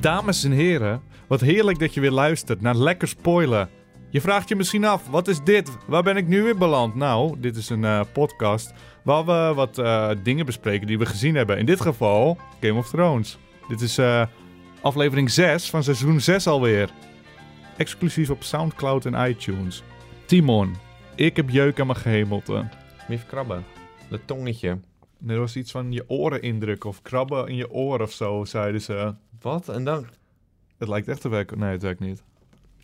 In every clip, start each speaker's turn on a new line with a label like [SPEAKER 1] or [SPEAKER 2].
[SPEAKER 1] Dames en heren, wat heerlijk dat je weer luistert naar Lekker Spoilen. Je vraagt je misschien af, wat is dit? Waar ben ik nu weer beland? Nou, dit is een eh, podcast waar we wat eh, dingen bespreken die we gezien hebben. In dit geval Game of Thrones. Dit is eh, aflevering 6 van seizoen 6 alweer. Exclusief op Soundcloud en iTunes. Timon, ik heb jeuk aan mijn gehemelte.
[SPEAKER 2] Moet je even krabben. Dat tongetje.
[SPEAKER 1] Er was iets van je oren indrukken of krabben in je oor of zo, zeiden ze.
[SPEAKER 2] Wat? En dan...
[SPEAKER 1] Het lijkt echt te werken. Nee, het werkt niet.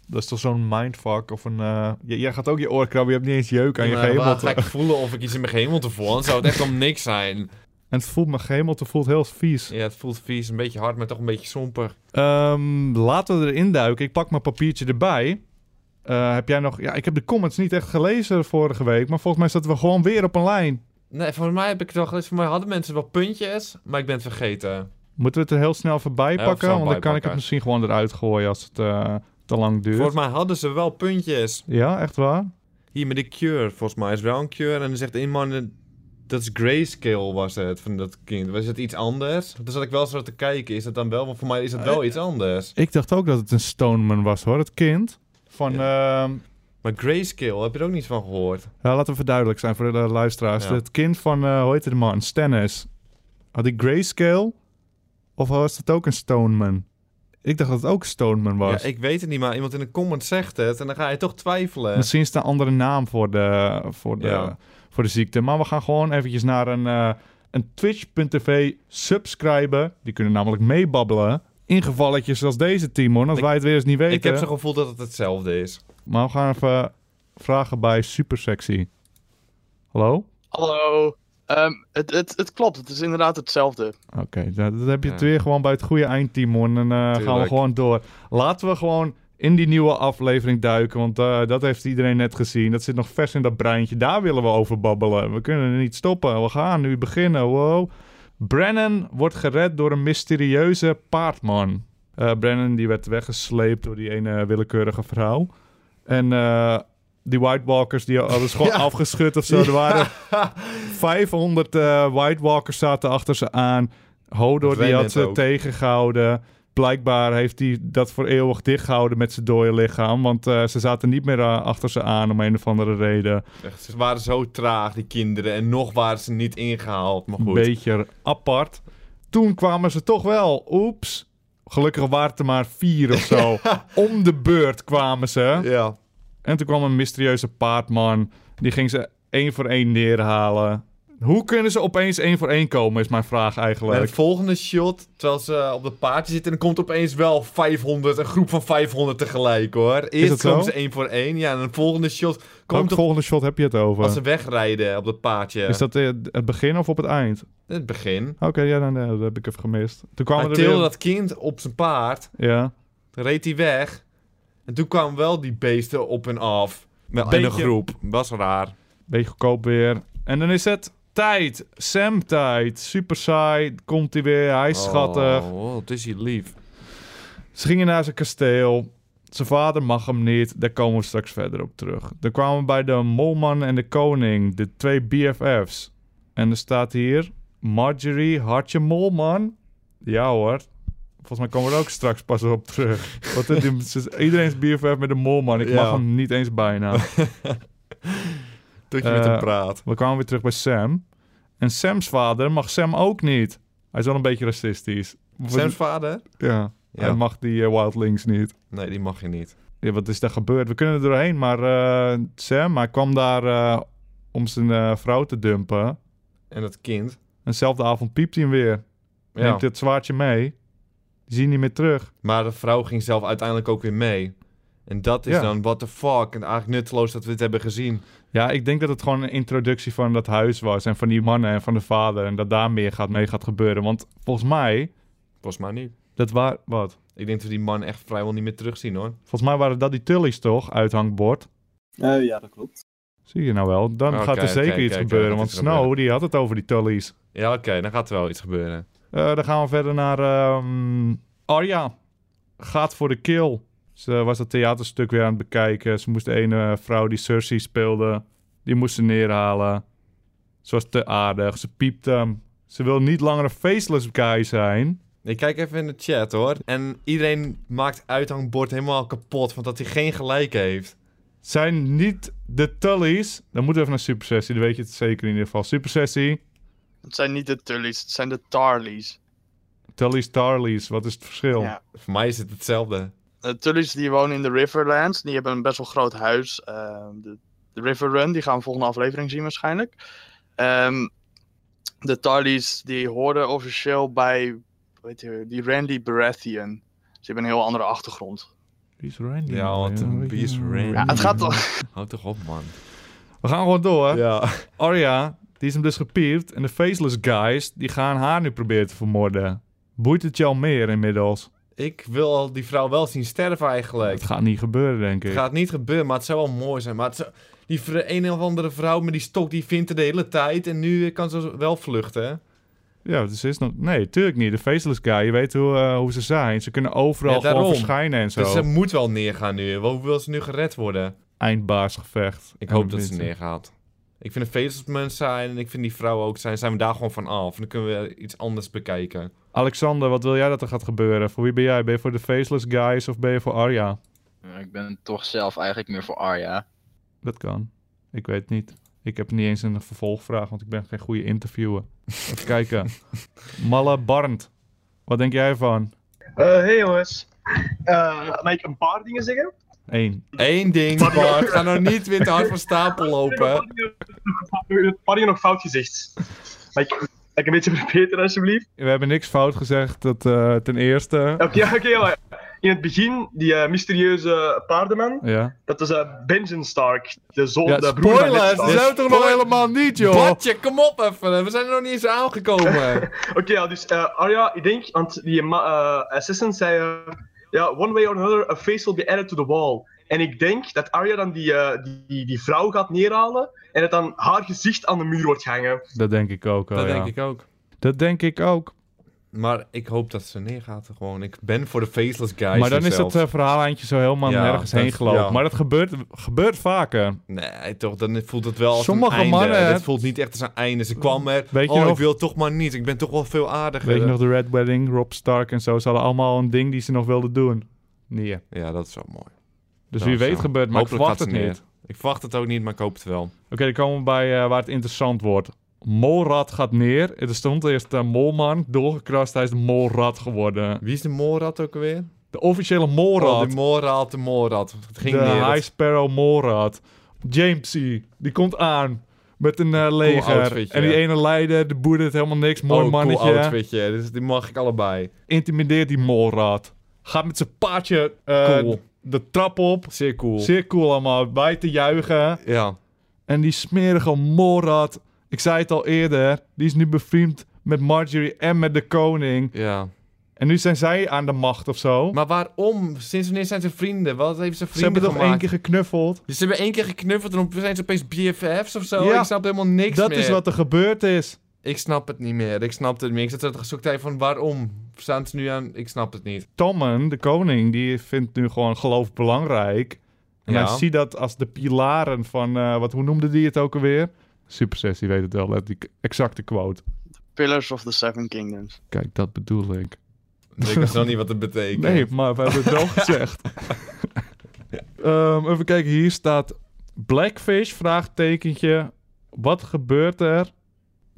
[SPEAKER 1] Dat is toch zo'n mindfuck of een... eh, j- jij gaat ook je oor krabben, je hebt niet eens jeuk aan je
[SPEAKER 2] Maar waar
[SPEAKER 1] gehemelte.
[SPEAKER 2] ga eh, ik voelen of ik iets in mijn gehemelte voel? Dan zou het echt om niks zijn.
[SPEAKER 1] En het voelt, mijn gehemelte voelt heel vies.
[SPEAKER 2] Ja, het voelt vies, een beetje hard, maar toch een beetje somper.
[SPEAKER 1] Ehm, laten we erin duiken. Ik pak mijn papiertje erbij. Eh, heb jij nog... Ja, ik heb de comments niet echt gelezen vorige week, maar volgens mij zaten we gewoon weer op een lijn.
[SPEAKER 2] Nee, volgens mij heb ik het al gelezen. Voor mij hadden mensen wel puntjes, maar ik ben het vergeten.
[SPEAKER 1] Moeten we het er heel snel voorbij
[SPEAKER 2] Heel
[SPEAKER 1] pakken?
[SPEAKER 2] snel
[SPEAKER 1] want dan kan ik
[SPEAKER 2] bijpakken.
[SPEAKER 1] het misschien gewoon eruit gooien als het eh, te lang duurt.
[SPEAKER 2] Volgens mij hadden ze wel puntjes.
[SPEAKER 1] Ja, echt waar?
[SPEAKER 2] Hier met de cure, volgens mij is wel een cure. En dan zegt één man, eh, dat is grayscale was het, van dat kind. Was het iets anders? Toen zat ik wel zo te kijken, is dat dan wel? Want voor mij is dat wel iets anders.
[SPEAKER 1] Ik dacht ook dat het een Stoneman was hoor, het kind. Van, ehm,
[SPEAKER 2] Maar grayscale, heb je er ook niets van gehoord?
[SPEAKER 1] Ja, laten we even duidelijk zijn voor de luisteraars.
[SPEAKER 2] Ja.
[SPEAKER 1] Het kind van, eh hoe heet het man? Stannis. Had hij grayscale? Of was het ook een Stoneman? Ik dacht dat het ook Stoneman was.
[SPEAKER 2] Ja, ik weet het niet, maar iemand in de comment zegt het en dan ga je toch twijfelen.
[SPEAKER 1] Misschien is het een andere naam voor de, voor de,
[SPEAKER 2] eh, Ja.
[SPEAKER 1] voor de ziekte. Maar we gaan gewoon eventjes naar een, eh, een twitch.tv subscriben. Die kunnen namelijk meebabbelen. In gevalletjes als deze, Timon. Als
[SPEAKER 2] Ik-
[SPEAKER 1] wij het weer eens niet weten.
[SPEAKER 2] Ik heb zo'n gevoel dat het hetzelfde is.
[SPEAKER 1] Maar we gaan even vragen bij Supersexy. Hallo?
[SPEAKER 3] Hallo. Ehm, het, het, het klopt, het is inderdaad hetzelfde.
[SPEAKER 1] Oké, dat, dat heb je het
[SPEAKER 2] Ja.
[SPEAKER 1] weer gewoon bij het goede eind, Timon. En eh, gaan we
[SPEAKER 2] Tuurlijk.
[SPEAKER 1] gewoon door. Laten we gewoon in die nieuwe aflevering duiken. Want eh, dat heeft iedereen net gezien. Dat zit nog vers in dat breintje. Daar willen we over babbelen. We kunnen niet stoppen. We gaan nu beginnen. Wow. Brennan wordt gered door een mysterieuze paardman. Eh Brennan die werd weggesleept door die ene willekeurige vrouw. En eh, die White Walkers die hadden ze gewoon
[SPEAKER 2] Ja.
[SPEAKER 1] afgeschud of zo. Er waren 500 eh, White Walkers zaten achter ze aan. Hodor die
[SPEAKER 2] Brennan
[SPEAKER 1] had ze
[SPEAKER 2] ook.
[SPEAKER 1] tegengehouden. Blijkbaar heeft hij dat voor eeuwig dichtgehouden met zijn dode lichaam. Want eh, ze zaten niet meer eh, achter ze aan om een of andere reden.
[SPEAKER 2] Echt, ze waren zo traag, die kinderen, en nog waren ze niet ingehaald. Maar
[SPEAKER 1] Een
[SPEAKER 2] goed.
[SPEAKER 1] beetje apart. Toen kwamen ze toch wel. Oeps. Gelukkig waren het er maar vier of zo. Om de beurt kwamen ze.
[SPEAKER 2] Ja.
[SPEAKER 1] En toen kwam een mysterieuze paardman. Die ging ze één voor één neerhalen. Hoe kunnen ze opeens één voor één komen, is mijn vraag
[SPEAKER 2] En
[SPEAKER 1] eigenlijk.
[SPEAKER 2] het volgende shot, terwijl ze op dat paardje zitten, dan komt opeens wel 500, een groep van 500 tegelijk hoor. Eerst
[SPEAKER 1] dat zo?
[SPEAKER 2] komen ze één voor één, ja, en het volgende shot
[SPEAKER 1] Welk
[SPEAKER 2] komt toch
[SPEAKER 1] volgende shot heb je het over?
[SPEAKER 2] als ze wegrijden op dat paardje.
[SPEAKER 1] Is dat eh, het begin of op het eind?
[SPEAKER 2] In het begin.
[SPEAKER 1] Oké, ja, dan, eh, dat heb ik even gemist. Toen kwamen
[SPEAKER 2] Hij
[SPEAKER 1] er
[SPEAKER 2] tilde
[SPEAKER 1] weer...
[SPEAKER 2] dat kind op zijn paard,
[SPEAKER 1] Ja.
[SPEAKER 2] Toen reed hij weg. En toen kwamen wel die beesten op en af. Met
[SPEAKER 1] Beetje-
[SPEAKER 2] een groep. Was raar.
[SPEAKER 1] Beetje goedkoop weer. En dan is het tijd. Sam tijd. Super saai. Komt hij weer. Hij is schattig.
[SPEAKER 2] Oh, oh, het is hier lief.
[SPEAKER 1] Ze gingen naar zijn kasteel. Zijn vader mag hem niet. Daar komen we straks verder op terug. Dan kwamen we bij de molman en de koning. De twee BFF's. En er staat hier... Marjorie, hartje molman. Ja hoor. Volgens mij komen we er ook straks pas op terug. Want het- die- iedereen is BFF met de molman. Ik mag
[SPEAKER 2] Ja.
[SPEAKER 1] hem niet eens bijna.
[SPEAKER 2] Dat
[SPEAKER 1] je met hem
[SPEAKER 2] praat.
[SPEAKER 1] We kwamen weer terug bij Sam. En Sams vader mag Sam ook niet. Hij is wel een beetje racistisch.
[SPEAKER 2] Sam's vader?
[SPEAKER 1] Ja.
[SPEAKER 2] Ja.
[SPEAKER 1] Hij mag die eh, Wildlings niet.
[SPEAKER 2] Nee, die mag je niet.
[SPEAKER 1] Ja, wat is daar gebeurd? We kunnen er doorheen, maar eh, Sam hij kwam daar eh, om zijn eh, vrouw te dumpen.
[SPEAKER 2] En dat kind.
[SPEAKER 1] Eenzelfde avond piept hij hem weer.
[SPEAKER 2] Ja.
[SPEAKER 1] Neemt het zwaardje mee. Die zie je niet meer terug.
[SPEAKER 2] Maar de vrouw ging zelf uiteindelijk ook weer mee. En dat is
[SPEAKER 1] Ja.
[SPEAKER 2] dan what the fuck. En eigenlijk nutteloos dat we dit hebben gezien.
[SPEAKER 1] Ja, ik denk dat het gewoon een introductie van dat huis was. En van die mannen en van de vader. En dat daar meer gaat, mee gaat gebeuren. Want volgens mij,
[SPEAKER 2] Volgens mij niet.
[SPEAKER 1] dat waar, wat?
[SPEAKER 2] Ik denk dat we die man echt vrijwel niet meer terugzien hoor.
[SPEAKER 1] Volgens mij waren dat die Tullys toch? Uithangbord.
[SPEAKER 3] Eh, ja, dat klopt.
[SPEAKER 1] Zie je nou wel. Dan
[SPEAKER 2] Oké,
[SPEAKER 1] gaat er zeker
[SPEAKER 2] oké,
[SPEAKER 1] iets
[SPEAKER 2] oké, oké,
[SPEAKER 1] gebeuren.
[SPEAKER 2] dat
[SPEAKER 1] want
[SPEAKER 2] is
[SPEAKER 1] Snow,
[SPEAKER 2] gebeuren.
[SPEAKER 1] die had het over die Tullys.
[SPEAKER 2] Ja, oké. dan gaat er wel iets gebeuren.
[SPEAKER 1] Eh, dan gaan we verder naar ehm Arya. Gaat voor de kill. Ze was dat theaterstuk weer aan het bekijken. Ze moest de ene vrouw die Cersei speelde, die moest ze neerhalen. Ze was te aardig. Ze piepte hem. Ze wil niet langer een faceless guy zijn.
[SPEAKER 2] Ik kijk even in de chat hoor. En iedereen maakt uithangbord helemaal kapot, want dat hij geen gelijk heeft.
[SPEAKER 1] Zijn niet de Tullies. Dan moeten we even naar Super Sessie. Dan weet je het zeker in ieder geval. Super Sessie.
[SPEAKER 3] Het zijn niet de Tullies, het zijn de Tarlies.
[SPEAKER 1] Tullies, Tarlies. Wat is het verschil?
[SPEAKER 3] Ja.
[SPEAKER 2] Voor mij is het hetzelfde.
[SPEAKER 3] De Tullies die wonen in de Riverlands, die hebben een best wel groot huis. Ehm, de, de River Run, die gaan we volgende aflevering zien waarschijnlijk. Ehm, de Tarlies die horen officieel bij weet je, die Randy Baratheon. Ze hebben een heel andere achtergrond.
[SPEAKER 1] Wie is Randy?
[SPEAKER 2] Ja, wat een-
[SPEAKER 1] weet
[SPEAKER 2] wie
[SPEAKER 1] je-
[SPEAKER 2] is Randy?
[SPEAKER 3] Ja, het gaat toch.
[SPEAKER 2] Houd toch op, man.
[SPEAKER 1] We gaan gewoon door.
[SPEAKER 2] Ja.
[SPEAKER 1] Arya, die is hem dus gepierd. En de Faceless Guys, die gaan haar nu proberen te vermoorden. Boeit het jou meer inmiddels?
[SPEAKER 2] Ik wil al die vrouw wel zien sterven eigenlijk.
[SPEAKER 1] Het gaat niet gebeuren, denk ik.
[SPEAKER 2] Het gaat niet gebeuren, maar het zou wel mooi zijn. Maar het zou- die vr- een of andere vrouw met die stok, die vindt er de hele tijd. En nu eh, kan ze wel vluchten. hè?
[SPEAKER 1] Ja, dus is nog... Nee, tuurlijk niet. De Faceless Guy, je weet hoe, eh, hoe ze zijn. Ze kunnen overal
[SPEAKER 2] Ja,
[SPEAKER 1] gewoon
[SPEAKER 2] daarom.
[SPEAKER 1] verschijnen en zo.
[SPEAKER 2] Dus ze moet wel neergaan nu. Hoe wil ze nu gered worden?
[SPEAKER 1] Eindbaasgevecht.
[SPEAKER 2] Ik
[SPEAKER 1] En
[SPEAKER 2] hoop dat ze
[SPEAKER 1] dit-
[SPEAKER 2] neergaat. Ik vind de Faceless zijn en ik vind die vrouw ook zijn. Zijn we daar gewoon van af. En dan kunnen we iets anders bekijken.
[SPEAKER 1] Alexander, wat wil jij dat er gaat gebeuren? Voor wie ben jij? Ben je voor de Faceless Guys of ben je voor Arya?
[SPEAKER 4] Ja, Ik ben toch zelf eigenlijk meer voor Arya.
[SPEAKER 1] Dat kan. Ik weet het niet. Ik heb niet eens een vervolgvraag, want ik ben geen goede interviewer. Even kijken. Malle Barnd. Wat denk jij van?
[SPEAKER 5] Eh, hey jongens. Eh mag ik een paar dingen zeggen?
[SPEAKER 1] Eén.
[SPEAKER 2] Eén ding, Bart. Ga nou niet weer te hard van stapel lopen.
[SPEAKER 5] Ik heb een paar dingen nog fout gezegd. Mag ik, mag ik een beetje verbeteren alsjeblieft?
[SPEAKER 1] We hebben niks fout gezegd. Dat, eh, ten eerste.
[SPEAKER 5] Oké, ja, oké. ja. in het begin, die eh, mysterieuze paardenman,
[SPEAKER 1] Ja.
[SPEAKER 5] dat is eh Benjen Stark, de zoon,
[SPEAKER 2] Oh,
[SPEAKER 1] Ja,
[SPEAKER 5] de broer van Ned
[SPEAKER 2] spoilers,
[SPEAKER 5] Stark.
[SPEAKER 2] dus-
[SPEAKER 1] zijn we toch nog helemaal niet, joh?
[SPEAKER 2] Bartje, kom op even. We zijn er nog niet eens aangekomen.
[SPEAKER 5] Oké, ja, dus eh, Arya, ik denk, want die ma- eh, assassin zei, eh, ja, one way or another, a face will be added to the wall. En ik denk dat Arya dan die, eh, die, die vrouw gaat neerhalen en dat dan haar gezicht aan de muur wordt hangen.
[SPEAKER 1] Dat denk ik ook. al,
[SPEAKER 2] dat
[SPEAKER 1] ja.
[SPEAKER 2] denk ik ook.
[SPEAKER 1] Dat denk ik ook.
[SPEAKER 2] Maar ik hoop dat ze neergaat gewoon. Ik ben voor de faceless guys.
[SPEAKER 1] maar dan is dat
[SPEAKER 2] zelf.
[SPEAKER 1] eh, verhaal eindje zo helemaal
[SPEAKER 2] Ja,
[SPEAKER 1] nergens
[SPEAKER 2] dat-
[SPEAKER 1] heen gelopen.
[SPEAKER 2] ja.
[SPEAKER 1] Maar dat gebeurt, gebeurt eh. vaker.
[SPEAKER 2] Nee, toch, dan voelt het wel als
[SPEAKER 1] Sommige
[SPEAKER 2] een einde.
[SPEAKER 1] mannen-
[SPEAKER 2] Het voelt niet echt als een einde. Ze kwam er,
[SPEAKER 1] Weet je
[SPEAKER 2] oh,
[SPEAKER 1] nog-
[SPEAKER 2] ik wil toch maar niet. Ik ben toch wel veel aardiger.
[SPEAKER 1] Weet je nog de Red Wedding, Rob Stark en zo? Ze hadden allemaal een ding die ze nog wilden doen. Nee.
[SPEAKER 2] Ja, dat is wel mooi.
[SPEAKER 1] Dus
[SPEAKER 2] Dat
[SPEAKER 1] wie
[SPEAKER 2] is
[SPEAKER 1] weet
[SPEAKER 2] zo.
[SPEAKER 1] gebeurt, maar
[SPEAKER 2] Hopelijk
[SPEAKER 1] ik verwacht
[SPEAKER 2] gaat
[SPEAKER 1] het
[SPEAKER 2] ze neer.
[SPEAKER 1] niet.
[SPEAKER 2] Ik verwacht het ook niet, maar ik hoop het wel.
[SPEAKER 1] Oké, dan komen we bij eh, waar het interessant wordt. Molrad gaat neer. Er stond eerst eh, Molman, doorgekrast. Hij is de Molrad geworden.
[SPEAKER 2] Wie is de Morad ook alweer?
[SPEAKER 1] De officiële
[SPEAKER 2] Oh,
[SPEAKER 1] Molrad.
[SPEAKER 2] de Morad, de Morad. Het ging Oh,
[SPEAKER 1] de
[SPEAKER 2] neer.
[SPEAKER 1] High Sparrow Molrad. Jamesy, die komt aan met een eh, leger.
[SPEAKER 2] outfitje.
[SPEAKER 1] en die ene leider, de boer deed helemaal niks. Mooi
[SPEAKER 2] oh,
[SPEAKER 1] mannetje.
[SPEAKER 2] cool outfitje. Dus die mag ik allebei.
[SPEAKER 1] Intimideert die Molrad. Gaat met zijn paardje eh,
[SPEAKER 2] Cool.
[SPEAKER 1] de trap op.
[SPEAKER 2] Zeer cool.
[SPEAKER 1] Zeer cool allemaal, bij te juichen.
[SPEAKER 2] Ja.
[SPEAKER 1] En die smerige Morad, ik zei het al eerder, die is nu bevriend met Marjorie en met de koning.
[SPEAKER 2] Ja.
[SPEAKER 1] En nu zijn zij aan de macht of zo.
[SPEAKER 2] Maar waarom? Sinds wanneer zijn ze vrienden? Wat heeft ze vrienden
[SPEAKER 1] ze hebben toch
[SPEAKER 2] gemaakt?
[SPEAKER 1] één keer geknuffeld?
[SPEAKER 2] Dus ze hebben één keer geknuffeld en dan zijn ze opeens BFF's of zo.
[SPEAKER 1] Ja.
[SPEAKER 2] Ik snap helemaal niks
[SPEAKER 1] dat
[SPEAKER 2] meer.
[SPEAKER 1] is wat er gebeurd is.
[SPEAKER 2] Ik snap het niet meer. Ik snap het niet meer. Ik zat er gezocht tijd van waarom staan ze nu aan... Ik snap het niet.
[SPEAKER 1] Tommen, de koning, die vindt nu gewoon geloof belangrijk. En
[SPEAKER 2] Ja.
[SPEAKER 1] hij ziet dat als de pilaren van, eh, wat, hoe noemde die het ook alweer? Supersessie weet het wel, let die exacte quote.
[SPEAKER 3] Pillars of the Seven Kingdoms.
[SPEAKER 1] Kijk, dat bedoel ik.
[SPEAKER 2] Ik wist nog niet wat het betekent.
[SPEAKER 1] Nee, maar we hebben het wel gezegd. Ehm, even kijken, hier staat Blackfish, vraagtekentje. Wat gebeurt er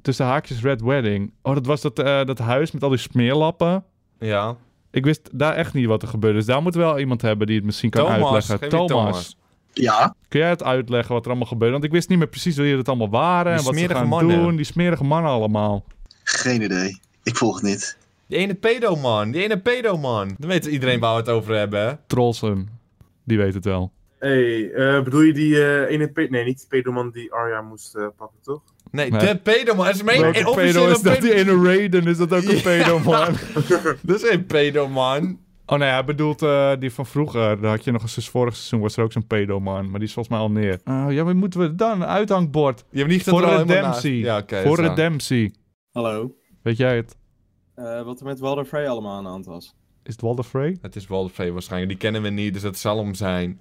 [SPEAKER 1] tussen haakjes Red Wedding? Oh, dat was dat, eh, dat huis met al die smeerlappen.
[SPEAKER 2] Ja.
[SPEAKER 1] Ik wist daar echt niet wat er gebeurde. Dus daar moet wel iemand hebben die het misschien kan
[SPEAKER 2] Thomas.
[SPEAKER 1] uitleggen.
[SPEAKER 2] geef je Thomas.
[SPEAKER 4] Ja?
[SPEAKER 1] kun jij het uitleggen wat er allemaal gebeurde? Want ik wist niet meer precies wie het allemaal waren
[SPEAKER 2] Die
[SPEAKER 1] en wat ze
[SPEAKER 2] smerige
[SPEAKER 1] gaan
[SPEAKER 2] mannen.
[SPEAKER 1] doen. Die smerige mannen allemaal.
[SPEAKER 4] Geen idee. Ik volg het niet.
[SPEAKER 2] Die ene pedoman. Die ene pedoman. Dan weet iedereen waar we het over hebben. hè?
[SPEAKER 1] Trolsen, die weet het wel.
[SPEAKER 6] Hey, eh, bedoel je die eh ene pe- Nee, niet die pedoman die Arya moest eh, pakken, toch?
[SPEAKER 2] Nee,
[SPEAKER 1] Nee.
[SPEAKER 2] de pedoman. Dat is mijn
[SPEAKER 1] Welke pedo
[SPEAKER 2] officiële
[SPEAKER 1] is dat?
[SPEAKER 2] pedo-
[SPEAKER 1] Die ene Raiden, is dat ook een pedo, man?
[SPEAKER 2] Dat is geen pedoman.
[SPEAKER 1] Oh nee, hij bedoelt eh, die van vroeger. Daar had je nog eens dus vorig seizoen, was er ook zo'n pedoman. Maar die is volgens mij al neer. Eh, ja, maar moeten we dan? Een uithangbord.
[SPEAKER 2] Je hebt niet
[SPEAKER 1] Voor
[SPEAKER 2] gezet er al helemaal naast.
[SPEAKER 1] redemptie.
[SPEAKER 2] Ja, oké.
[SPEAKER 1] Voor
[SPEAKER 2] dat is waar.
[SPEAKER 1] redemptie.
[SPEAKER 7] Hallo.
[SPEAKER 1] Weet jij het?
[SPEAKER 7] Eh, wat er met Walder Frey allemaal aan de hand was.
[SPEAKER 1] Is het Walder Frey?
[SPEAKER 2] Het is Walter Frey waarschijnlijk. Die kennen we niet, dus het zal hem zijn.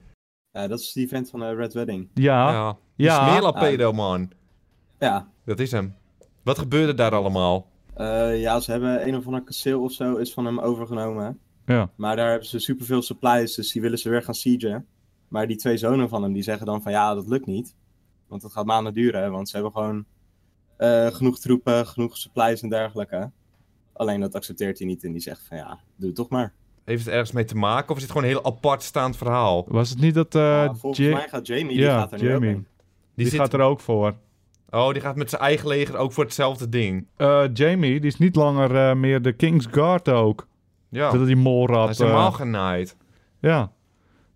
[SPEAKER 7] Ja, dat is die vent van eh, Red Wedding.
[SPEAKER 1] Ja.
[SPEAKER 2] Ja.
[SPEAKER 1] Ja.
[SPEAKER 2] Smeerlap pedoman.
[SPEAKER 7] Ja,
[SPEAKER 2] Dat is hem. Wat gebeurde daar allemaal?
[SPEAKER 7] Eh, ja, ze hebben een of ander kasteel of zo is van hem overgenomen. hè.
[SPEAKER 1] Ja.
[SPEAKER 7] Maar daar hebben ze superveel supplies, dus die willen ze weer gaan siegen. Maar die twee zonen van hem, die zeggen dan van ja, dat lukt niet. Want dat gaat maanden duren, want ze hebben gewoon eh, genoeg troepen, genoeg supplies en dergelijke. Alleen dat accepteert hij niet en die zegt van ja, doe het toch maar.
[SPEAKER 2] Heeft het ergens mee te maken of is dit gewoon een heel apart staand verhaal?
[SPEAKER 1] Was het niet dat... eh,
[SPEAKER 7] Ja, volgens
[SPEAKER 1] Ja-
[SPEAKER 7] mij gaat Jamie, die
[SPEAKER 1] ja,
[SPEAKER 7] gaat er nu ook
[SPEAKER 1] Jamie.
[SPEAKER 7] in.
[SPEAKER 1] Die,
[SPEAKER 2] zit-
[SPEAKER 1] gaat er ook voor.
[SPEAKER 2] Oh, die gaat met zijn eigen leger ook voor hetzelfde ding.
[SPEAKER 1] Eh, Jamie, die is niet langer eh, meer de Kingsguard ook.
[SPEAKER 2] Ja,
[SPEAKER 1] Dat die molrat.
[SPEAKER 2] Oh. hij is helemaal
[SPEAKER 1] eh,
[SPEAKER 2] genaaid.
[SPEAKER 1] ja.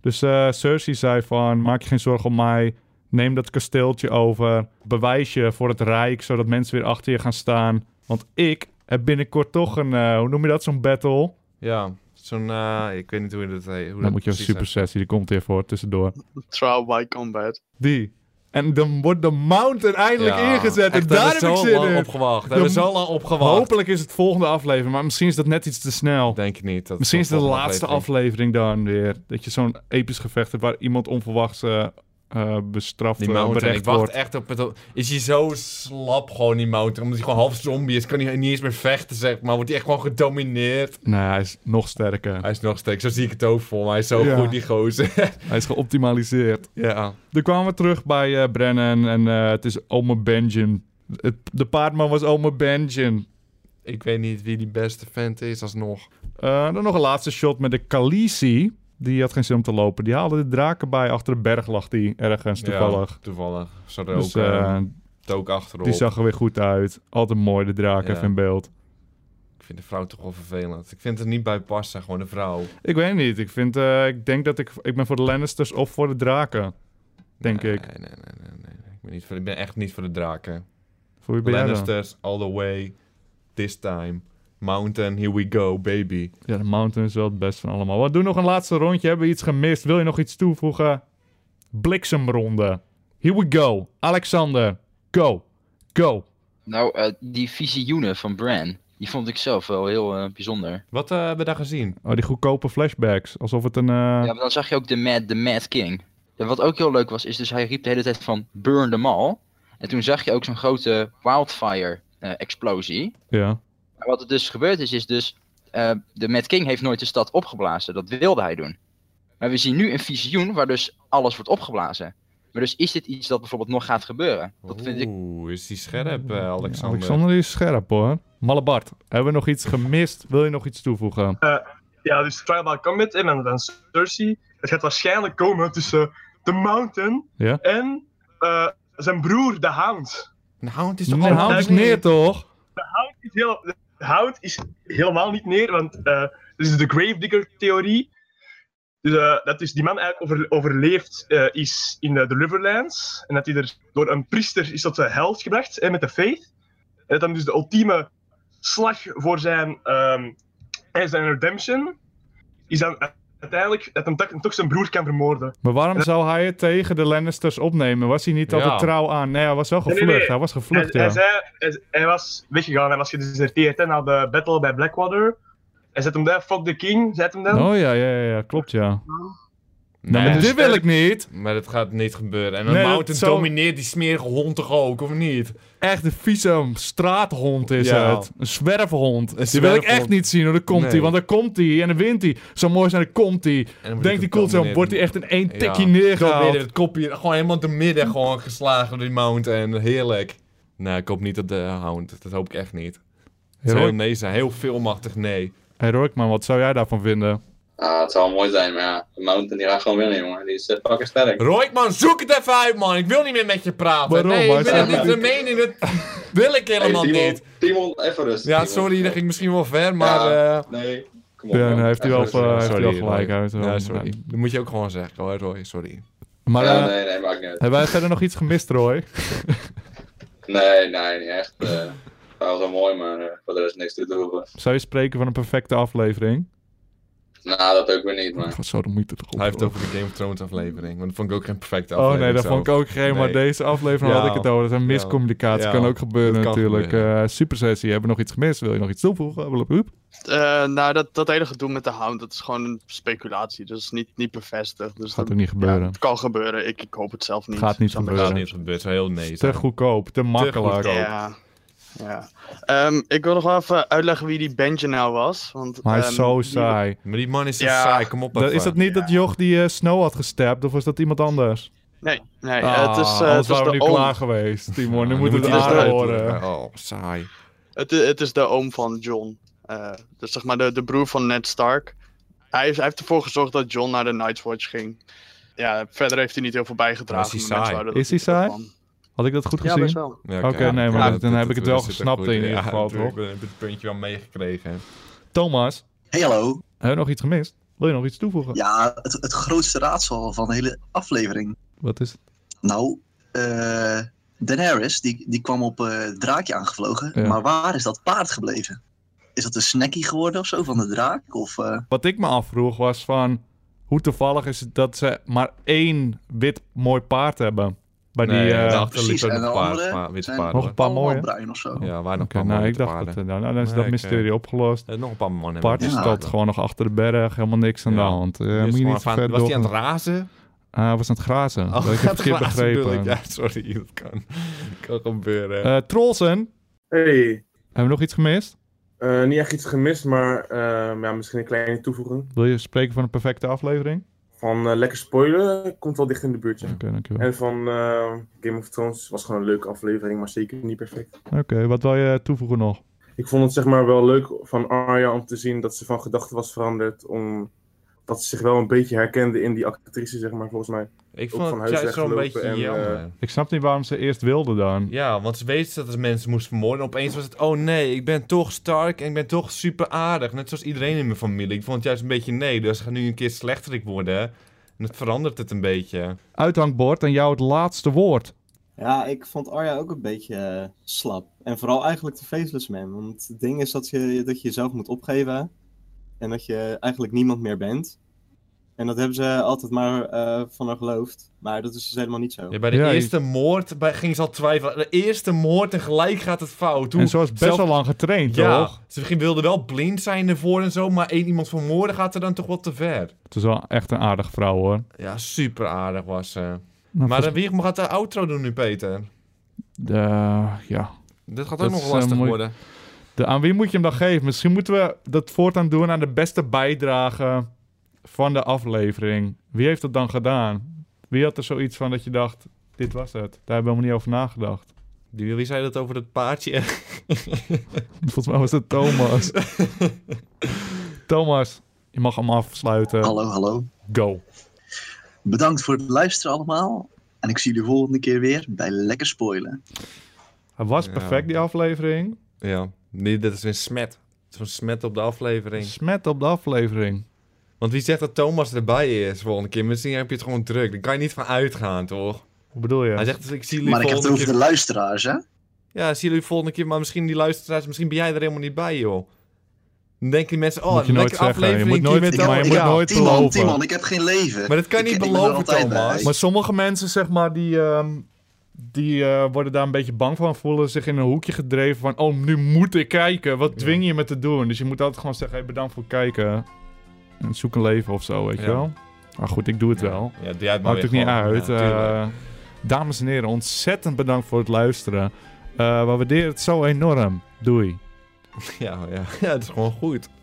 [SPEAKER 1] Dus eh, Cersei zei van, maak je geen zorgen om mij. Neem dat kasteeltje over. Bewijs je voor het Rijk, zodat mensen weer achter je gaan staan. Want ik heb binnenkort toch een, eh, hoe noem je dat, zo'n battle.
[SPEAKER 2] Ja, zo'n... eh, ik weet niet hoe dat heet. Hoe
[SPEAKER 1] Dan
[SPEAKER 2] dat
[SPEAKER 1] moet je een
[SPEAKER 2] precies
[SPEAKER 1] super sessie, die komt hier voor, tussendoor.
[SPEAKER 3] Trial by combat.
[SPEAKER 1] Die. En dan wordt de mountain
[SPEAKER 2] heet.
[SPEAKER 1] eindelijk
[SPEAKER 2] Ja,
[SPEAKER 1] ingezet.
[SPEAKER 2] echt,
[SPEAKER 1] En daar heb ik
[SPEAKER 2] hebben we zo
[SPEAKER 1] zin
[SPEAKER 2] lang
[SPEAKER 1] in.
[SPEAKER 2] opgewacht. Hebben we
[SPEAKER 1] Dan-
[SPEAKER 2] zo lang opgewacht.
[SPEAKER 1] Hopelijk is het volgende aflevering, maar misschien is dat net iets te snel.
[SPEAKER 2] Denk ik niet. Dat
[SPEAKER 1] Misschien is het de
[SPEAKER 2] volgende
[SPEAKER 1] laatste aflevering. dan weer. Dat je zo'n episch gevecht hebt waar iemand onverwachts eh, eh, bestraft
[SPEAKER 2] Die
[SPEAKER 1] eh,
[SPEAKER 2] mountain, ik
[SPEAKER 1] berecht
[SPEAKER 2] wacht
[SPEAKER 1] wordt.
[SPEAKER 2] echt op het... Is hij zo slap gewoon, die mountain? Omdat hij gewoon half zombie is, kan hij niet eens meer vechten, zeg maar. Wordt hij echt gewoon gedomineerd.
[SPEAKER 1] Nee, hij is nog sterker.
[SPEAKER 2] Hij is nog steeds, zo zie ik het ook voor me. Hij is zo
[SPEAKER 1] Ja.
[SPEAKER 2] goed, die gozer.
[SPEAKER 1] Hij is geoptimaliseerd.
[SPEAKER 2] ja.
[SPEAKER 1] Dan kwamen we terug bij eh, Brennan en eh, het is Ome Benjin. Het, de paardman was Ome Benjin.
[SPEAKER 2] Ik weet niet wie die beste vent is alsnog.
[SPEAKER 1] Eh, dan nog een laatste shot met de Khaleesi. Die had geen zin om te lopen. Die haalde de draken bij. Achter de berg lag die ergens toevallig.
[SPEAKER 2] Ja, toevallig. Ze hadden
[SPEAKER 1] dus
[SPEAKER 2] ook,
[SPEAKER 1] eh,
[SPEAKER 2] eh, het ook achterop.
[SPEAKER 1] die zag er weer goed uit. Altijd mooi, de draak
[SPEAKER 2] Ja.
[SPEAKER 1] even in beeld.
[SPEAKER 2] Ik vind de vrouw toch wel vervelend. Ik vind het er niet bij passen, gewoon de vrouw.
[SPEAKER 1] Ik weet niet. Ik vind, eh, ik denk dat ik, ik ben voor de Lannisters of voor de draken. Denk
[SPEAKER 2] nee,
[SPEAKER 1] ik.
[SPEAKER 2] Nee, nee, nee, nee. nee. Ik, ben niet voor, ik ben echt niet voor de draken.
[SPEAKER 1] Voor wie ben jij dan?
[SPEAKER 2] Lannisters, all the way. This time. Mountain, here we go, baby.
[SPEAKER 1] Ja, de Mountain is wel het best van allemaal. We doen nog een laatste rondje. Hebben we iets gemist? Wil je nog iets toevoegen? Bliksemronde. Here we go. Alexander, go. Go.
[SPEAKER 4] Nou, eh, die visioenen van Bran, die vond ik zelf wel heel eh, bijzonder.
[SPEAKER 2] Wat eh, hebben we daar gezien?
[SPEAKER 1] Oh, die goedkope flashbacks. Alsof het een... eh,
[SPEAKER 4] Ja, maar dan zag je ook de Mad, de Mad King. En wat ook heel leuk was, is dus hij riep de hele tijd van burn them all. En toen zag je ook zo'n grote wildfire eh, explosie.
[SPEAKER 1] ja.
[SPEAKER 4] Maar wat er dus gebeurd is, is dus... eh, de Mad King heeft nooit de stad opgeblazen. Dat wilde hij doen. Maar we zien nu een visioen waar dus alles wordt opgeblazen. Maar dus is dit iets dat bijvoorbeeld nog gaat gebeuren? Dat vind ik...
[SPEAKER 2] Oeh, is die scherp, eh, Alexander.
[SPEAKER 1] Alexander is scherp hoor. Mallebart, hebben we nog iets gemist? Wil je nog iets toevoegen?
[SPEAKER 5] Ja, dus Trial by Combat en dan- dan Cersei. Het gaat waarschijnlijk komen tussen The Mountain
[SPEAKER 1] Ja.
[SPEAKER 5] en eh, zijn broer, de Hound.
[SPEAKER 2] Een hound Nou, is toch
[SPEAKER 1] Mijn
[SPEAKER 2] altijd
[SPEAKER 1] hand is
[SPEAKER 5] nee.
[SPEAKER 1] neer toch?
[SPEAKER 5] Is heel- De Hound is helemaal niet neer, want eh dit is de Gravedigger-theorie. Dus, eh, dat dus die man eigenlijk over, overleefd eh, is in de, de Riverlands. En dat hij er door een priester is tot de held gebracht, hè, met de faith. En dat dan dus de ultieme slag voor zijn, ehm, en zijn redemption is dan uiteindelijk dat hem toch- toch zijn broer kan vermoorden.
[SPEAKER 1] Maar waarom zou hij het tegen de Lannisters opnemen? Was hij niet
[SPEAKER 2] Ja.
[SPEAKER 1] altijd trouw aan? Nee, hij was wel
[SPEAKER 5] Nee, nee,
[SPEAKER 1] gevlucht.
[SPEAKER 5] nee.
[SPEAKER 1] Hij was
[SPEAKER 5] Hij,
[SPEAKER 1] gevlucht,
[SPEAKER 5] hij,
[SPEAKER 1] ja.
[SPEAKER 5] zei, hij, hij was weggegaan, hij was gedeserteerd hè, na de battle bij Blackwater. Hij zet hem daar, fuck the king, zet hem dan.
[SPEAKER 1] Oh ja, ja, ja, ja, klopt ja.
[SPEAKER 2] Nee,
[SPEAKER 1] Nou, maar
[SPEAKER 2] dus-
[SPEAKER 1] dit wil ik niet.
[SPEAKER 2] Maar dat gaat niet gebeuren. En een
[SPEAKER 1] Nee, dat
[SPEAKER 2] mountain
[SPEAKER 1] zou-
[SPEAKER 2] domineert die smerige hond toch ook, of niet?
[SPEAKER 1] Echt een vieze straathond is
[SPEAKER 2] Ja.
[SPEAKER 1] het. Een zwerfhond. Die wil ik
[SPEAKER 2] zwerfhond.
[SPEAKER 1] echt niet zien. Hoor. Dan komt hij,
[SPEAKER 2] Nee.
[SPEAKER 1] want dan komt hij en dan wint hij. Zo mooi zijn, dan komt hij.
[SPEAKER 2] En dan
[SPEAKER 1] Denkt hij cool zo, wordt hij echt in één tikje neergehaald.
[SPEAKER 2] midden, het kopje, gewoon helemaal door midden gewoon geslagen door die mountain. Heerlijk. Nee, ik hoop niet dat de hound, dat hoop ik echt niet. Het zou heel
[SPEAKER 1] Heroic,
[SPEAKER 2] nee zijn, heel veelmachtig nee.
[SPEAKER 1] Heroic man, wat zou jij daarvan vinden?
[SPEAKER 8] Ah, het zal mooi zijn, maar ja, de Mountain die gaat gewoon winnen, jongen. Die is eh, fucking sterk.
[SPEAKER 2] Roik man, zoek het even uit man, ik wil niet meer met je praten.
[SPEAKER 1] Waarom?
[SPEAKER 2] Nee,
[SPEAKER 1] Hij
[SPEAKER 2] ik ben
[SPEAKER 1] staat
[SPEAKER 2] niet de mening, dat wil ik helemaal
[SPEAKER 8] Timon,
[SPEAKER 2] niet.
[SPEAKER 8] Timon, even rust.
[SPEAKER 2] Ja,
[SPEAKER 8] Timon.
[SPEAKER 2] sorry, dat ging misschien wel ver, maar... eh,
[SPEAKER 8] Nee, kom op.
[SPEAKER 1] Ja,
[SPEAKER 8] man.
[SPEAKER 1] nee, heeft hij wel,
[SPEAKER 8] Even rust.
[SPEAKER 1] eh, heeft hij wel
[SPEAKER 2] sorry,
[SPEAKER 1] gelijk
[SPEAKER 2] Roy.
[SPEAKER 1] uit.
[SPEAKER 2] Ja, sorry. Dat moet je ook gewoon zeggen hoor, Roy, sorry.
[SPEAKER 1] Maar eh,
[SPEAKER 8] Ja, nee, nee, maakt niet uit.
[SPEAKER 1] hebben wij verder nog iets gemist, Roy?
[SPEAKER 8] Nee, nee, niet echt. eh, Het was wel mooi, maar eh, voor de rest niks te doen.
[SPEAKER 1] Zou je spreken van een perfecte aflevering?
[SPEAKER 8] Nou, dat ook weer niet, maar...
[SPEAKER 1] Wat Zo, dan moet je het toch op.
[SPEAKER 2] Hij heeft het over de Game of Thrones aflevering, want dat vond ik ook geen perfecte
[SPEAKER 1] Oh
[SPEAKER 2] aflevering.
[SPEAKER 1] nee, dat
[SPEAKER 2] zo.
[SPEAKER 1] vond ik ook geen. Maar
[SPEAKER 2] Nee.
[SPEAKER 1] deze aflevering
[SPEAKER 2] Ja.
[SPEAKER 1] had ik het over. Dat is een
[SPEAKER 2] Ja.
[SPEAKER 1] miscommunicatie.
[SPEAKER 2] Ja.
[SPEAKER 1] Kan ook gebeuren
[SPEAKER 2] Dat kan
[SPEAKER 1] natuurlijk.
[SPEAKER 2] gebeuren.
[SPEAKER 1] Eh, supersessie. Hebben we nog iets gemist? Wil je nog iets toevoegen? Blablabla.
[SPEAKER 3] Eh, nou, dat, dat hele gedoe met de hound, dat is gewoon een speculatie. Dat is niet, niet bevestigd. Dus
[SPEAKER 1] Gaat
[SPEAKER 3] dat-
[SPEAKER 1] ook niet gebeuren.
[SPEAKER 3] ja, het kan gebeuren. Ik, ik hoop het zelf niet.
[SPEAKER 1] Gaat niet
[SPEAKER 3] Zou
[SPEAKER 2] Dat
[SPEAKER 1] gebeuren.
[SPEAKER 2] gaat niet gebeuren, zo heel nee.
[SPEAKER 1] te
[SPEAKER 2] zijn.
[SPEAKER 1] goedkoop, te makkelijk.
[SPEAKER 2] goedkoop.
[SPEAKER 3] Ja. Ja. Ehm, ik wil nog wel even uitleggen wie die bandje nou was. Want,
[SPEAKER 1] Maar hij
[SPEAKER 3] ehm,
[SPEAKER 1] is zo
[SPEAKER 3] die-
[SPEAKER 1] saai.
[SPEAKER 2] Maar die man is zo
[SPEAKER 3] Ja.
[SPEAKER 2] saai, kom op.
[SPEAKER 1] Dat, is
[SPEAKER 2] even.
[SPEAKER 1] dat niet dat joch die eh, Snow had gestapt, of was dat iemand anders?
[SPEAKER 3] Nee, nee eh,
[SPEAKER 1] Ah,
[SPEAKER 3] het is, eh,
[SPEAKER 1] anders
[SPEAKER 3] het is
[SPEAKER 1] waren we
[SPEAKER 3] de
[SPEAKER 1] nu
[SPEAKER 3] oom.
[SPEAKER 1] klaar geweest, Timon. nu
[SPEAKER 2] Ja,
[SPEAKER 1] moeten we het
[SPEAKER 2] moet hij dat
[SPEAKER 1] aan
[SPEAKER 2] eruit
[SPEAKER 1] horen.
[SPEAKER 2] doen. Oh, saai.
[SPEAKER 3] Het, i- het is de oom van John. dus zeg maar de, de broer van Ned Stark. Hij, is- hij heeft ervoor gezorgd dat John naar de Night's Watch ging. Ja, verder heeft hij niet heel veel bijgedragen.
[SPEAKER 2] Is hij
[SPEAKER 3] maar mensen
[SPEAKER 2] saai?
[SPEAKER 3] houden dat
[SPEAKER 1] Is hij
[SPEAKER 3] niet
[SPEAKER 1] saai?
[SPEAKER 3] van.
[SPEAKER 1] Had ik dat goed
[SPEAKER 3] Ja,
[SPEAKER 1] gezien?
[SPEAKER 3] best wel.
[SPEAKER 2] Ja,
[SPEAKER 1] Oké, nee, maar dat- dan heb ik het wel
[SPEAKER 2] dat zit er
[SPEAKER 1] gesnapt
[SPEAKER 2] goed
[SPEAKER 1] in ieder geval,
[SPEAKER 2] natuurlijk.
[SPEAKER 1] toch?
[SPEAKER 2] Ik heb het puntje wel meegekregen. hè.
[SPEAKER 1] Thomas,
[SPEAKER 9] Hey, hallo.
[SPEAKER 1] hebben we nog iets gemist? Wil je nog iets toevoegen?
[SPEAKER 9] Ja, het, het grootste raadsel van de hele aflevering.
[SPEAKER 1] Wat is het?
[SPEAKER 9] Nou, eh Daenerys, die, die kwam op eh, het draakje aangevlogen.
[SPEAKER 1] Ja.
[SPEAKER 9] Maar waar is dat paard gebleven? Is dat een snackie geworden of zo van de draak? Of, eh,
[SPEAKER 1] Wat ik me afvroeg was van... Hoe toevallig is het dat ze maar één wit mooi paard hebben? Bij die...
[SPEAKER 2] Nee,
[SPEAKER 1] eh,
[SPEAKER 2] de
[SPEAKER 9] nou,
[SPEAKER 1] Oké,
[SPEAKER 2] achterliep
[SPEAKER 9] precies,
[SPEAKER 2] er
[SPEAKER 9] en
[SPEAKER 2] nog
[SPEAKER 9] de
[SPEAKER 2] paard,
[SPEAKER 9] andere
[SPEAKER 2] maar witte
[SPEAKER 9] zijn-
[SPEAKER 2] paarden.
[SPEAKER 1] Nog
[SPEAKER 2] hoor.
[SPEAKER 1] een paar
[SPEAKER 9] allemaal
[SPEAKER 1] mooie.
[SPEAKER 9] bruin of zo?
[SPEAKER 2] Ja, waar nog een paar
[SPEAKER 1] nou, ik
[SPEAKER 2] mooie
[SPEAKER 1] dacht dat...
[SPEAKER 2] paarden.
[SPEAKER 1] eh, Nou, dan is
[SPEAKER 2] Nee,
[SPEAKER 1] dat
[SPEAKER 2] oké.
[SPEAKER 1] mysterie opgelost.
[SPEAKER 2] Er is Nog een paar mannen.
[SPEAKER 1] Paard
[SPEAKER 9] Ja.
[SPEAKER 1] staat gewoon nog achter de berg. Helemaal niks aan
[SPEAKER 2] Ja.
[SPEAKER 1] de hand. Eh,
[SPEAKER 2] Die is
[SPEAKER 1] moet je
[SPEAKER 2] gewoon
[SPEAKER 1] niet te
[SPEAKER 2] aan-
[SPEAKER 1] ver
[SPEAKER 2] was
[SPEAKER 1] door.
[SPEAKER 2] die aan het razen?
[SPEAKER 1] Ah, hij was aan het grazen. dat heb ik
[SPEAKER 2] aan
[SPEAKER 1] heb
[SPEAKER 2] het
[SPEAKER 1] verkeerd
[SPEAKER 2] razen bedoel ik.
[SPEAKER 1] begrepen.
[SPEAKER 2] Ja, sorry, dat kan, kan gebeuren.
[SPEAKER 1] Eh, Trollsen,
[SPEAKER 6] Hey,
[SPEAKER 1] hebben we nog iets gemist?
[SPEAKER 6] eh, niet echt iets gemist, maar ehm, ja, misschien een kleine toevoeging.
[SPEAKER 1] Wil je spreken van een perfecte aflevering?
[SPEAKER 6] Van eh, lekker spoilen komt wel dicht in de buurt. ja.
[SPEAKER 1] Oké, dankjewel.
[SPEAKER 6] En van eh, Game of Thrones was gewoon een leuke aflevering, maar zeker niet perfect.
[SPEAKER 1] Oké, wat wil je toevoegen nog?
[SPEAKER 6] Ik vond het zeg maar wel leuk van Arya om te zien dat ze van gedachten was veranderd. Om, dat ze zich wel een beetje herkende in die actrice, zeg maar, volgens mij.
[SPEAKER 2] ik
[SPEAKER 6] ook
[SPEAKER 2] vond
[SPEAKER 6] van
[SPEAKER 2] het
[SPEAKER 6] huis
[SPEAKER 2] juist zo'n beetje
[SPEAKER 6] weggelopen en,
[SPEAKER 2] jammer.
[SPEAKER 1] Ik snap niet waarom ze eerst wilde dan.
[SPEAKER 2] Ja, want ze weten dat ze mensen moesten vermoorden. En opeens was het, oh nee, ik ben toch Stark en ik ben toch super aardig. Net zoals iedereen in mijn familie. Ik vond het juist een beetje nee, dus ze gaan nu een keer slechterik worden. En het verandert het een beetje.
[SPEAKER 1] Uithangbord en jou het laatste woord.
[SPEAKER 7] Ja, ik vond Arya ook een beetje eh, slap. En vooral eigenlijk de Faceless Man. Want het ding is dat je, dat je jezelf moet opgeven. En dat je eigenlijk niemand meer bent. En dat hebben ze altijd maar eh, van haar geloofd. Maar dat is dus helemaal niet zo.
[SPEAKER 2] Ja, bij de
[SPEAKER 1] Ja, je-
[SPEAKER 2] eerste moord bij, ging ze al twijfelen. De eerste moord en gelijk gaat het fout. Hoe-
[SPEAKER 1] en zo is best
[SPEAKER 2] zelf-
[SPEAKER 1] wel lang getraind,
[SPEAKER 2] Ja,
[SPEAKER 1] toch?
[SPEAKER 2] ze ging- wilde wel blind zijn ervoor en zo, maar één iemand vermoorden gaat er dan toch wel te ver.
[SPEAKER 1] Het is wel echt een aardige vrouw, hoor.
[SPEAKER 2] Ja, super aardig was ze.
[SPEAKER 1] Nou,
[SPEAKER 2] Maar
[SPEAKER 1] volgens-
[SPEAKER 2] dan wie gaat de outro doen nu, Peter?
[SPEAKER 1] Eh, ja.
[SPEAKER 2] Dit gaat
[SPEAKER 1] Dat
[SPEAKER 2] ook
[SPEAKER 1] is,
[SPEAKER 2] nog
[SPEAKER 1] eh,
[SPEAKER 2] lastig
[SPEAKER 1] mooi-
[SPEAKER 2] worden.
[SPEAKER 1] De, aan wie moet je hem dan geven? Misschien moeten we dat voortaan doen aan de beste bijdrage van de aflevering. Wie heeft dat dan gedaan? Wie had er zoiets van dat je dacht, dit was het? Daar hebben we helemaal niet over nagedacht.
[SPEAKER 2] Die- Wie zei dat over dat paardje?
[SPEAKER 1] Volgens mij was het Thomas. Thomas, je mag hem afsluiten.
[SPEAKER 9] Hallo, hallo.
[SPEAKER 1] Go.
[SPEAKER 9] Bedankt voor het luisteren allemaal. En ik zie jullie volgende keer weer bij Lekker Spoilen.
[SPEAKER 1] Hij was
[SPEAKER 2] Ja.
[SPEAKER 1] perfect, die aflevering.
[SPEAKER 2] Ja, nee, dat is een smet. Zo'n smet op de aflevering.
[SPEAKER 1] Smet op de aflevering.
[SPEAKER 2] Want wie zegt dat Thomas erbij is volgende keer? Misschien heb je het gewoon druk. Daar kan je niet van uitgaan, toch?
[SPEAKER 1] Hoe bedoel je?
[SPEAKER 2] Hij zegt, ik zie jullie
[SPEAKER 9] Maar ik heb het
[SPEAKER 2] volgende
[SPEAKER 9] over
[SPEAKER 2] keer.
[SPEAKER 9] de luisteraars, hè?
[SPEAKER 2] Ja, zie jullie volgende keer. Maar misschien die luisteraars, misschien ben jij er helemaal niet bij, joh. Dan denken die mensen,
[SPEAKER 1] Moet
[SPEAKER 2] oh,
[SPEAKER 1] je
[SPEAKER 2] een
[SPEAKER 1] nooit
[SPEAKER 2] lekkere
[SPEAKER 1] zeggen. Je
[SPEAKER 2] aflevering.
[SPEAKER 1] moet
[SPEAKER 2] die
[SPEAKER 1] nooit-
[SPEAKER 2] met
[SPEAKER 9] Ik
[SPEAKER 1] maar
[SPEAKER 9] heb-
[SPEAKER 1] je moet
[SPEAKER 2] Thomas.
[SPEAKER 9] ik heb-
[SPEAKER 2] Ja,
[SPEAKER 1] nooit
[SPEAKER 9] Timon,
[SPEAKER 1] beloven.
[SPEAKER 9] Timon, ik heb geen leven.
[SPEAKER 2] Maar dat kan
[SPEAKER 9] Ik-
[SPEAKER 2] niet
[SPEAKER 9] ik ben er
[SPEAKER 2] beloven,
[SPEAKER 9] altijd eh, bij.
[SPEAKER 2] Thomas.
[SPEAKER 1] Maar sommige mensen, zeg maar, die, ehm, die eh, worden daar een beetje bang van, voelen zich in een hoekje gedreven van, oh, nu moet ik kijken. Wat dwing je me te doen? Dus je moet altijd gewoon zeggen, hey, bedankt voor het kijken. En zoek een leven of zo, weet je
[SPEAKER 2] Ja.
[SPEAKER 1] wel. Maar goed, ik doe het wel.
[SPEAKER 2] Ja, doe jij het maar
[SPEAKER 1] Maakt
[SPEAKER 2] weer
[SPEAKER 1] ook niet
[SPEAKER 2] gewoon.
[SPEAKER 1] uit.
[SPEAKER 2] Ja, tuurlijk.
[SPEAKER 1] Eh, dames en heren, ontzettend bedankt voor het luisteren. Eh we waarderen het zo enorm. Doei.
[SPEAKER 2] ja, ja. ja, het is gewoon goed.